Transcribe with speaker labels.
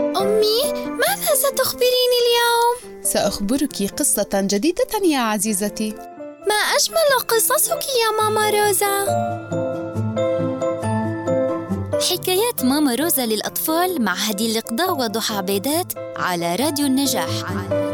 Speaker 1: أمي ماذا ستخبريني اليوم؟
Speaker 2: سأخبرك قصة جديدة يا عزيزتي
Speaker 1: ما أجمل قصصك يا ماما روزا
Speaker 3: حكايات ماما روزا للأطفال مع هدي القضاء وضحى عبيدات على راديو النجاح